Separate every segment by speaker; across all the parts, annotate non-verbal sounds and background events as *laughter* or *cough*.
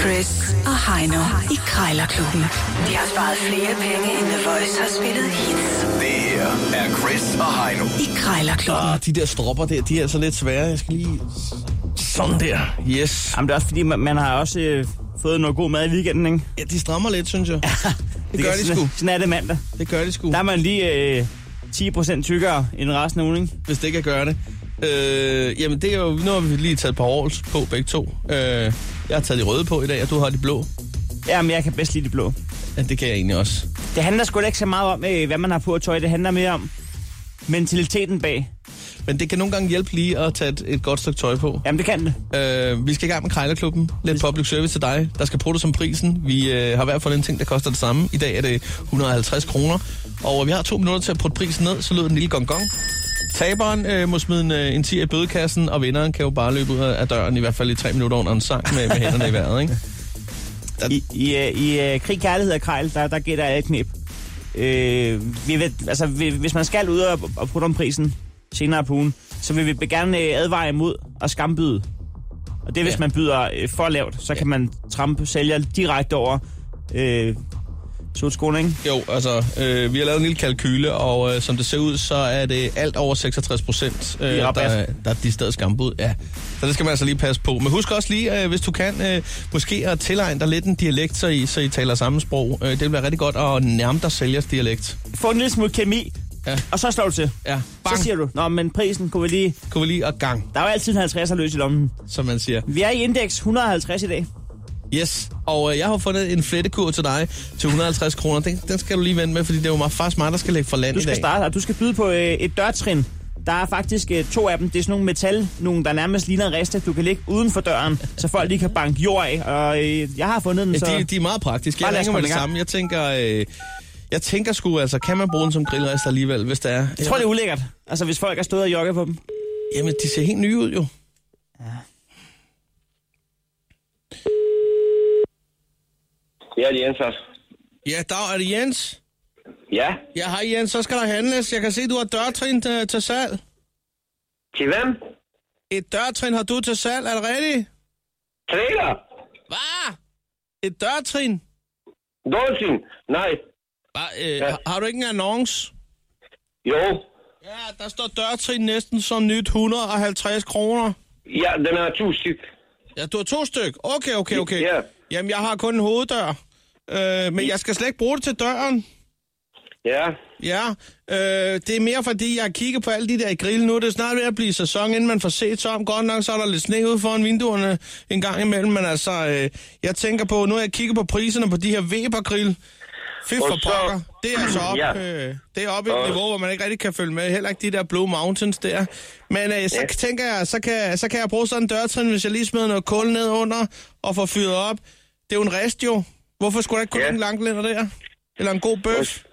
Speaker 1: Chris og Heino i Krejlerklubben. De har sparet flere penge, end The Voice har spillet hits
Speaker 2: Det her er Chris og Heino.
Speaker 1: i Krejlerklubben.
Speaker 3: Ah, de der stropper der, de er altså lidt svære. Jeg skal lige... Sådan der. Yes.
Speaker 4: Jamen, det er også fordi, man, man har også øh, fået noget god mad i weekenden, ikke?
Speaker 3: Ja, de strammer lidt, synes jeg. Det gør
Speaker 4: kan-
Speaker 3: de
Speaker 4: sådan,
Speaker 3: sgu.
Speaker 4: Sådan er det mandag.
Speaker 3: Det gør de sgu,
Speaker 4: Der er man lige øh, 10% tykkere end resten af ugen, ikke?
Speaker 3: hvis det kan gøre det. Øh, jamen, det er jo... Nu har vi lige taget et par års på, begge to. Øh, jeg har taget de røde på i dag, og du har de blå.
Speaker 4: Jamen, jeg kan bedst lide det blå.
Speaker 3: Ja, det kan jeg egentlig også.
Speaker 4: Det handler sgu da ikke så meget om, øh, hvad man har på at tøj. Det handler mere om mentaliteten bag.
Speaker 3: Men det kan nogle gange hjælpe lige at tage et, et godt stykke tøj på.
Speaker 4: Jamen, det kan det.
Speaker 3: Øh, vi skal i gang med Krejlerklubben. Lidt public service til dig. Der skal bruge som prisen. Vi øh, har i hvert fald en ting, der koster det samme. I dag er det 150 kroner. Og vi har to minutter til at putte prisen ned, så lyder den lille gong gong. Taberen øh, må smide en, øh, en 10 i bødekassen, og vinderen kan jo bare løbe ud af af døren, i hvert fald i tre minutter under en sang med, med hænderne i vejret, ikke?
Speaker 4: I, i, øh, i øh, krig, kærlighed og krejl, der, der gætter alle knep. Øh, vi vil, altså, vi, hvis man skal ud og, og putte om prisen senere på ugen, så vil vi gerne øh, advare imod at skambyde. Og det er, hvis
Speaker 3: Ja.
Speaker 4: ja. man byder øh, for lavt, så ja. kan man trampe sælger direkte over øh, sotskolen, ikke?
Speaker 3: Jo, altså, øh, vi har lavet en lille kalkyle, og øh, som det ser ud, så er det alt over 66 procent, øh,
Speaker 4: I
Speaker 3: der,
Speaker 4: rabat.
Speaker 3: der er de stadig skambud. Ja. Så det skal man altså lige passe på. Men husk også lige, øh, hvis du kan, øh, måske at tilegne dig lidt en dialekt, så I, så I taler samme sprog. Øh, det vil være rigtig godt at nærme dig sælgers dialekt.
Speaker 4: Få en lille smule kemi,
Speaker 3: Ja.
Speaker 4: ja. og så slår du til.
Speaker 3: Ja, bang,
Speaker 4: Bang. Så siger du, nå, men prisen kunne vi lige...
Speaker 3: kunne vi lige, og gang,
Speaker 4: Der er jo altid en 50'er løs i lommen.
Speaker 3: som man siger.
Speaker 4: Vi er i indeks 150 i dag.
Speaker 3: Yes, og øh, jeg har fundet en flettekur til dig til 150 kroner. Den, den skal du lige vende med, fordi det er jo meget- faktisk mig, der skal lægge for land
Speaker 4: Du
Speaker 3: i
Speaker 4: skal
Speaker 3: dag.
Speaker 4: starte, og du skal byde på øh, et dørtrin. Der er faktisk øh, to af dem. Det er sådan nogle metal, nogle, der nærmest ligner en rest, du kan lægge uden for døren, så folk lige kan banke jord af. Og øh, jeg har fundet den, så...
Speaker 3: Ja, de, de er meget praktiske.
Speaker 4: Bare
Speaker 3: Jeg
Speaker 4: lad os
Speaker 3: ringer med
Speaker 4: komme
Speaker 3: det
Speaker 4: i gang.
Speaker 3: samme. Jeg tænker, øh, jeg tænker sgu, altså, kan man bruge den som grillrester alligevel, hvis der er?
Speaker 4: Jeg tror, det er ulækkert. Altså, hvis folk har stået og jogget på dem.
Speaker 3: Jamen, de ser helt nye ud jo.
Speaker 5: Ja, det er Jens også.
Speaker 3: Ja, der er det Jens.
Speaker 5: Ja,
Speaker 3: Ja, hej Jens, så skal der handles. Jeg kan se, du har dørtrin øh, til, til salg.
Speaker 5: til hvem?
Speaker 3: Et dørtrin har du til salg, er det rigtigt?
Speaker 5: Trailer?
Speaker 3: Hvad? Et dørtrin?
Speaker 5: Dolphin? Nej.
Speaker 3: Hva? Øh,
Speaker 5: Ja.
Speaker 3: ja. Har du ikke en annonce?
Speaker 5: Jo.
Speaker 3: Ja, der står dørtrin næsten som nyt 150 kroner.
Speaker 5: Ja, den er to styk.
Speaker 3: Ja, du har to styk. Okay, okay, okay.
Speaker 5: Ja.
Speaker 3: Jamen, jeg har kun en hoveddør. Øh, men jeg skal slet ikke bruge det til døren.
Speaker 5: Ja.
Speaker 3: Ja, øh, det er mere fordi, jeg kigger på alle de der grill nu. Det er snart ved at blive sæson, inden man får set sig om. Godt nok, så er der lidt sne ude foran vinduerne en gang imellem. Men altså, øh, jeg tænker på, nu har jeg kigget på priserne på de her Weber-grill. Fy for
Speaker 5: Og så-
Speaker 3: pokker. Det er altså op,
Speaker 5: Ja.
Speaker 3: øh, det er op i et
Speaker 5: Og-
Speaker 3: niveau, hvor man ikke rigtig kan følge med. Heller ikke de der Blue Mountains der. Men øh, så ja. tænker jeg, så kan, så kan jeg bruge sådan en dørtrin, hvis jeg lige smider noget kul ned under og får fyret op. Det er jo en rest jo. Hvorfor skulle der ikke kunne
Speaker 5: Ja.
Speaker 3: ja. en langlænder der? Eller en god
Speaker 5: Og,
Speaker 3: bøf?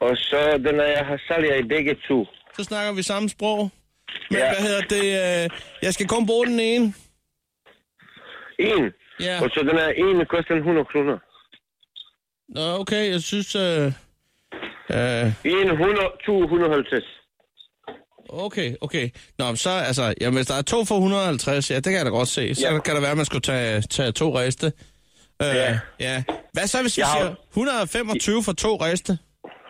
Speaker 5: og så den er jeg har salget i begge to.
Speaker 3: så snakker vi samme sprog. Men ja.
Speaker 5: Ja.
Speaker 3: hvad hedder det? Øh, jeg skal kun bruge den ene.
Speaker 5: En.
Speaker 3: Ja.
Speaker 5: Og så den er en, koster 100 kroner.
Speaker 3: Nå, okay, jeg synes... Øh, øh,
Speaker 5: En 100, 250.
Speaker 3: okay, okay. Nå, men så altså... Jamen, hvis der er to for 150, ja, det kan jeg da godt se. Så ja.
Speaker 5: Ja.
Speaker 3: kan det være, at man skulle tage, tage to riste. Øh, ja.
Speaker 5: Ja.
Speaker 3: ja. Hvad så, hvis vi
Speaker 5: Jeg har-
Speaker 3: siger 125 for to riste?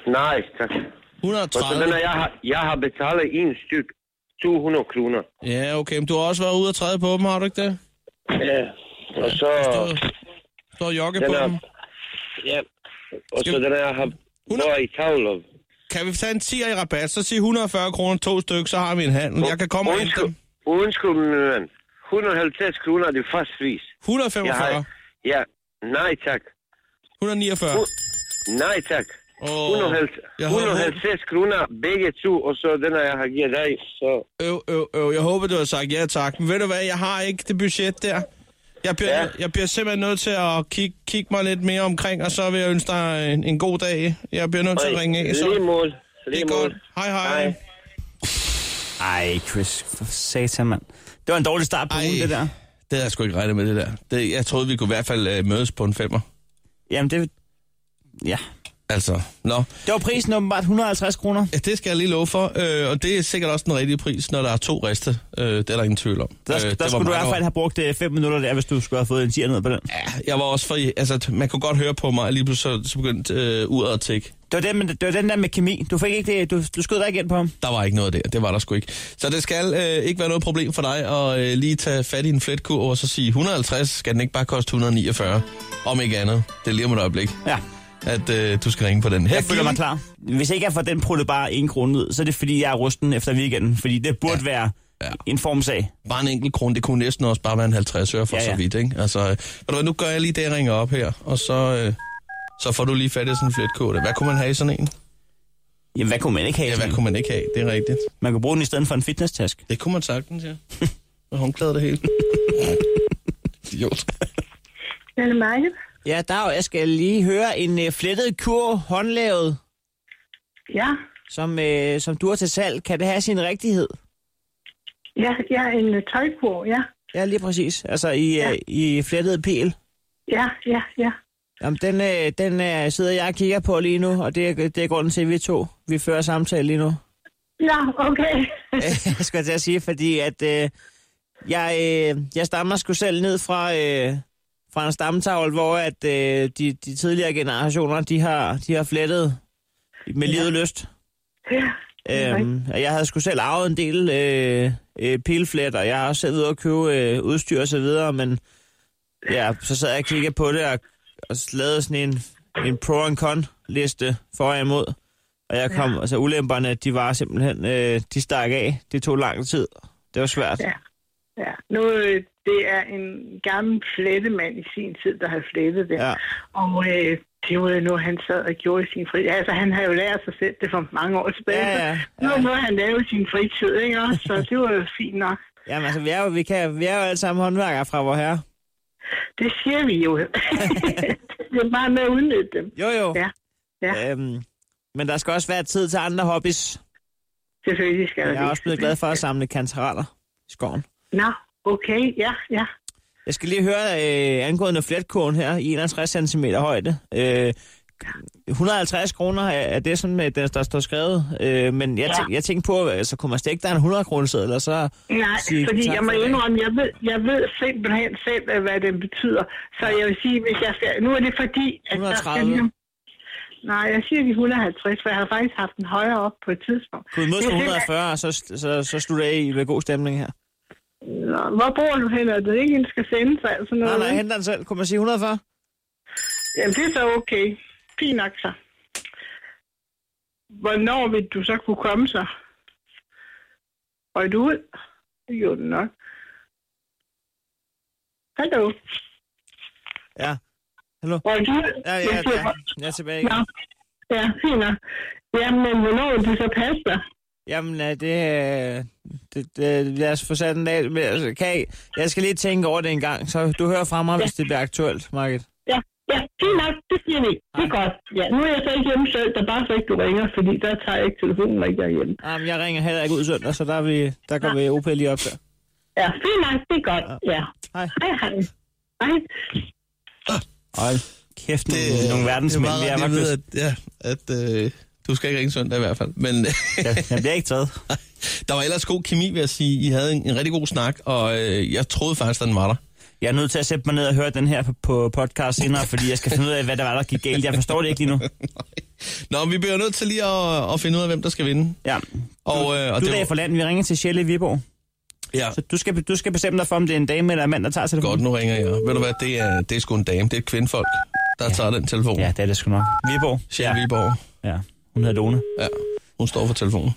Speaker 5: Nej, tak. Og så den
Speaker 3: 130?
Speaker 5: er jeg har, jeg har betalt en styk. 200 kroner.
Speaker 3: Ja, okay, men du har også været ude og træde på dem, har du ikke det?
Speaker 5: Ja. Og så...
Speaker 3: Du, du har jogget
Speaker 5: Den
Speaker 3: på
Speaker 5: er-
Speaker 3: dem.
Speaker 5: Ja. Og så
Speaker 3: Skal-
Speaker 5: den er jeg har...
Speaker 3: 100?
Speaker 5: Hvor er i tavler?
Speaker 3: Kan vi tage en 10'er i rabat, så sig 140 kroner to stykker, så har vi en handel. Jeg kan komme og hente
Speaker 5: Undskyld,
Speaker 3: dem.
Speaker 5: undskyld, min ven. 150 kroner er det fast pris. Jeg
Speaker 3: 145.
Speaker 5: har... Ja, nej tak.
Speaker 3: 149.
Speaker 5: Hu- Nej tak.
Speaker 3: Åh,
Speaker 5: 150
Speaker 3: jeg havde
Speaker 5: 150 kroner begge to, og så den, jeg har givet dig, så...
Speaker 3: Øv, øv, øv. Jeg håber, du har sagt ja tak. Men ved du hvad, jeg har ikke det budget der. Jeg bliver, ja.
Speaker 5: Ja.
Speaker 3: jeg bliver simpelthen nødt til at kigge, kigge mig lidt mere omkring, og så vil jeg ønske dig en, en god dag. Jeg bliver nødt til at ringe af. Så.
Speaker 5: Lige mål.
Speaker 3: Det
Speaker 5: Lige
Speaker 3: er
Speaker 5: mål.
Speaker 3: godt. Hej, hej.
Speaker 5: Hej.
Speaker 4: Ej, Chris, for satan, mand. Det var en dårlig start på
Speaker 3: Ej.
Speaker 4: ugen, det der.
Speaker 3: Det havde jeg sgu ikke regnet med, det der. Det, jeg troede, vi kunne i hvert fald øh, mødes på en femmer.
Speaker 4: Jamen, det... Ja.
Speaker 3: Altså, nå.
Speaker 4: Det var prisen åbenbart 150 kroner.
Speaker 3: Ja, det skal jeg lige love for, øh, og det er sikkert også den rigtige pris, når der er to rester. Øh, det er der ingen tvivl om.
Speaker 4: Der, øh,
Speaker 3: det
Speaker 4: der
Speaker 3: var
Speaker 4: skulle du i
Speaker 3: mange
Speaker 4: hvert
Speaker 3: år-
Speaker 4: fald have brugt 5 minutter der, hvis du skulle have fået en 10 ned på den.
Speaker 3: Ja, jeg var også for... Altså, man kunne godt høre på mig, at lige pludselig så, så begyndte øh, uret at tække.
Speaker 4: Det var, den, med- det var den der med kemi. Du fik ikke det. Du, du skød dig ikke ind på ham.
Speaker 3: Der var ikke noget der, det var der sgu ikke. Så det skal øh, ikke være noget problem for dig at øh, lige tage fat i en fletkurv og så sige, 150 skal den ikke bare koste 149, om ikke andet. Det er lige om et øjeblik,
Speaker 4: Ja.
Speaker 3: at øh, du skal ringe på den. Her
Speaker 4: Jeg føler mig klar. Hvis ikke jeg får den pruttet bare en krone ud, så er det fordi, jeg er rusten efter weekenden. Fordi det burde ja. være
Speaker 3: Ja.
Speaker 4: en formsag.
Speaker 3: Bare en enkelt krone, det kunne næsten også bare være en 50 øre for ja,
Speaker 4: Ja,
Speaker 3: ja.
Speaker 4: ja.
Speaker 3: så vidt, ikke? Altså, øh, ved du hvad, nu gør jeg lige det, jeg ringer op her, og så, øh, så får du lige fat i sådan en fletkurv. Hvad kunne man have i sådan en?
Speaker 4: Ja, hvad kunne man ikke have?
Speaker 3: Ja,
Speaker 4: sådan
Speaker 3: hvad
Speaker 4: en?
Speaker 3: kunne man ikke have? Det er rigtigt.
Speaker 4: Man kunne bruge den i stedet for en fitness-task.
Speaker 3: Det kunne man sagtens, ja.
Speaker 4: *laughs*
Speaker 3: Med håndklæder det hele. Idiot.
Speaker 6: Anne Marke?
Speaker 4: Ja, Dag, jeg skal lige høre en øh, flettet kurv, håndlavet,
Speaker 6: Ja.
Speaker 4: som, øh, som du har til salg. Kan det have sin rigtighed?
Speaker 6: Ja, jeg er en øh, tøjkur, ja.
Speaker 4: Ja, lige præcis. Altså i, ja.
Speaker 6: Ja.
Speaker 4: øh, i flettet pæl.
Speaker 6: Ja, ja, ja.
Speaker 4: Jamen, den, øh, den øh, sidder jeg og kigger på lige nu, og det er, det er grunden til, at vi to vi fører samtale lige nu.
Speaker 6: Ja, okay.
Speaker 4: *laughs* Øh, skal jeg til at sige, fordi at øh, jeg, øh, jeg stammer sgu selv ned fra, øh, fra en stamtavl, hvor at, øh, de, de tidligere generationer, de har, de har flettet med livet ja. lyst.
Speaker 6: Ja.
Speaker 4: Øhm, og jeg havde sgu selv arvet en del øh, øh, pilflet, og jeg har også selv ude og købe øh, udstyr og så videre, men ja, så sad jeg og kiggede på det og, og lavede sådan en, en pro and con liste for og imod. Og jeg kom, ja. altså ulemperne, de var simpelthen, øh, de stak af. Det tog lang tid. Det var svært. Ja.
Speaker 6: Ja. ja. Nu, øh, det er en gammel flettemand i sin tid, der har flettet det.
Speaker 4: Ja.
Speaker 6: Og øh, det var jo noget, han sad og gjorde i sin fritid. Altså, han har jo lært sig selv det for mange år tilbage.
Speaker 4: Ja, ja,
Speaker 6: så Nu
Speaker 4: ja.
Speaker 6: er noget, han lavede i sin fritid, ikke også? Så det var jo fint nok.
Speaker 4: Jamen altså, vi er jo, vi kan, vi er jo alle sammen håndværkere fra vor herre.
Speaker 6: Det siger vi
Speaker 4: *laughs*
Speaker 6: jo. det er bare med at udnytte dem.
Speaker 4: Jo jo.
Speaker 6: Ja, ja.
Speaker 4: Øhm, men der skal også være tid til andre hobbies.
Speaker 6: Selvfølgelig skal der
Speaker 4: Jeg er
Speaker 6: det.
Speaker 4: også blevet glad for at samle kantareller i skoven.
Speaker 6: Nå, okay, ja, ja.
Speaker 4: Jeg skal lige høre øh, angående fletkurven her i 61 cm højde. Øh, 150 kroner er, er det sådan, at den, der står skrevet. Øh, men jeg,
Speaker 6: Ja.
Speaker 4: tænk, jeg tænkte på, altså, kunne man stikke der en 100 kroner seddel, og så...
Speaker 6: Nej,
Speaker 4: sige
Speaker 6: fordi
Speaker 4: tak
Speaker 6: jeg må
Speaker 4: for i dag?
Speaker 6: indrømme, jeg ved, jeg ved simpelthen selv, øh, hvad den betyder. Så jeg vil sige, hvis jeg skal... Nu er det fordi, at der
Speaker 4: 130.
Speaker 6: skal ligesom... Nej, jeg siger de 150, for jeg har faktisk haft den højere op på et tidspunkt.
Speaker 4: Kunne vi mødes på
Speaker 6: Jeg siger,
Speaker 4: 140, og så, så, så slutter jeg i med god stemning her.
Speaker 6: Nå, hvor bor du hen? Er det ikke en, der skal sende sig? Altså
Speaker 4: Nej,
Speaker 6: noget,
Speaker 4: nej,
Speaker 6: vel?
Speaker 4: henter den selv. Kunne man sige 140?
Speaker 6: Jamen, det er så okay. Fint nok så. Hvornår vil du så kunne komme så? Røg du ud? Det gjorde den nok. Hallo?
Speaker 4: Ja.
Speaker 6: Røg du ud?
Speaker 4: Ja, ja,
Speaker 6: Jeg
Speaker 4: ja.
Speaker 6: siger,
Speaker 4: Jeg er tilbage igen.
Speaker 6: Nå. Ja, fint nok. Jamen, hvornår vil du så passe dig?
Speaker 4: Jamen, øh, det, øh, det, det, lad os få sat den af. Men, altså, Kan jeg, jeg skal lige tænke over det en gang, så du hører fra mig, hvis det bliver aktuelt, Market.
Speaker 6: Ja, ja, fint nok, det siger vi. Det er godt. Ja, nu er jeg så ikke hjemme selv, der er bare så ikke du ringer, fordi der tager jeg ikke telefonen, når ikke jeg er hjemme.
Speaker 4: Jamen, jeg ringer heller ikke ud søndag, så der, er vi, der går vi OP lige op der.
Speaker 6: Ja, fint nok, det er godt. Ja.
Speaker 4: Hej.
Speaker 6: Hej, hej. Hej.
Speaker 4: Hold kæft, det, nogle, nogle
Speaker 3: det
Speaker 4: verdensmænd, vi
Speaker 3: er
Speaker 4: er
Speaker 3: meget rart,
Speaker 4: faktisk.
Speaker 3: jeg ved, at, ja, at øh, du skal ikke ringe søndag i hvert fald. Men *laughs*
Speaker 4: Jeg, jeg bliver ikke taget.
Speaker 3: der var ellers god kemi, vil jeg sige. I havde en, en rigtig god snak, og øh, jeg troede faktisk, at den var der. *laughs*
Speaker 4: Jeg er nødt til at sætte mig ned og høre den her på, på podcast senere, fordi jeg skal finde ud af, hvad der var, der gik galt. Jeg forstår det ikke lige nu.
Speaker 3: Nå, men vi bliver nødt til lige at, at finde ud af, hvem der skal vinde.
Speaker 4: Ja.
Speaker 3: Og, øh, og
Speaker 4: Du
Speaker 3: det
Speaker 4: er
Speaker 3: var-
Speaker 4: for land, vi ringer til Sjælle i Viborg.
Speaker 3: Ja,
Speaker 4: Så du skal, du skal bestemme dig for, om det er en dame eller en mand, der tager telefonen.
Speaker 3: godt, nu ringer jeg. Ved du hvad, det er, det er sgu en dame. Det er et kvindfolk, der ja. tager den telefon.
Speaker 4: Ja,
Speaker 3: Ja.
Speaker 4: det er det sgu nok. Viborg.
Speaker 3: Sjæl Viborg.
Speaker 4: Ja, hun hedder Lone.
Speaker 3: Ja, hun står for telefonen.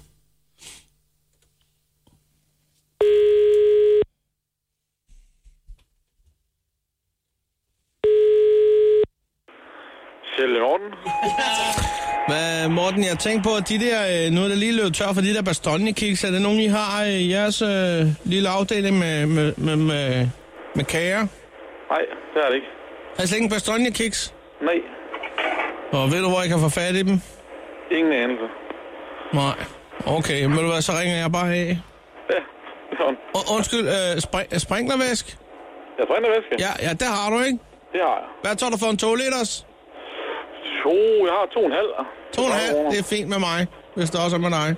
Speaker 5: Selv i orden.
Speaker 3: Hvad, Morten, jeg tænkte på, at de der, øh, nu er der lige løbet tør for de der bastonjekiks. Er det nogen, I har øh, i jeres øh, lille afdeling med, med, med, med, med kager?
Speaker 5: Nej, det er det ikke.
Speaker 3: Har I slet ikke en bastonjekiks?
Speaker 5: Nej,
Speaker 3: Og ved du, hvor jeg kan få fat i dem?
Speaker 5: ingen anelse.
Speaker 3: Nej. Okay, men ved du hvad, så ringer jeg bare af.
Speaker 5: Ja, sådan.
Speaker 3: Og, undskyld, øh, spring, sprinklervæsk?
Speaker 5: Jeg brænder væske.
Speaker 3: Ja, ja, det har du, ikke?
Speaker 5: Det har jeg.
Speaker 3: Hvad tager du for en 2 liters?
Speaker 7: To, jeg har to og en halv.
Speaker 3: To og en halv, det er fint med mig, hvis det også er med dig.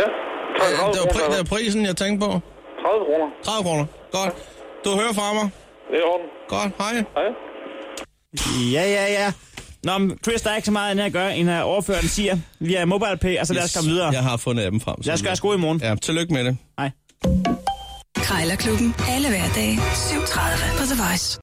Speaker 7: Ja, tak.
Speaker 3: Øh, Det var, pri- det var prisen, jeg tænkte på.
Speaker 7: 30 kroner.
Speaker 3: 30 kroner. Godt. Du hører fra mig.
Speaker 7: Det er i orden.
Speaker 3: Godt, hej.
Speaker 7: Hej.
Speaker 4: Ja, ja, ja. Nå, men Chris, der er ikke så meget andet at gøre, end at overføre den siger via MobilePay, og så lad os komme videre.
Speaker 3: Jeg har fundet appen frem.
Speaker 4: Lad os gøre os gode i morgen.
Speaker 3: Ja, tillykke med det.
Speaker 4: Hej.
Speaker 1: Krejlerklubben. Alle hverdage. 7.30 på The Voice.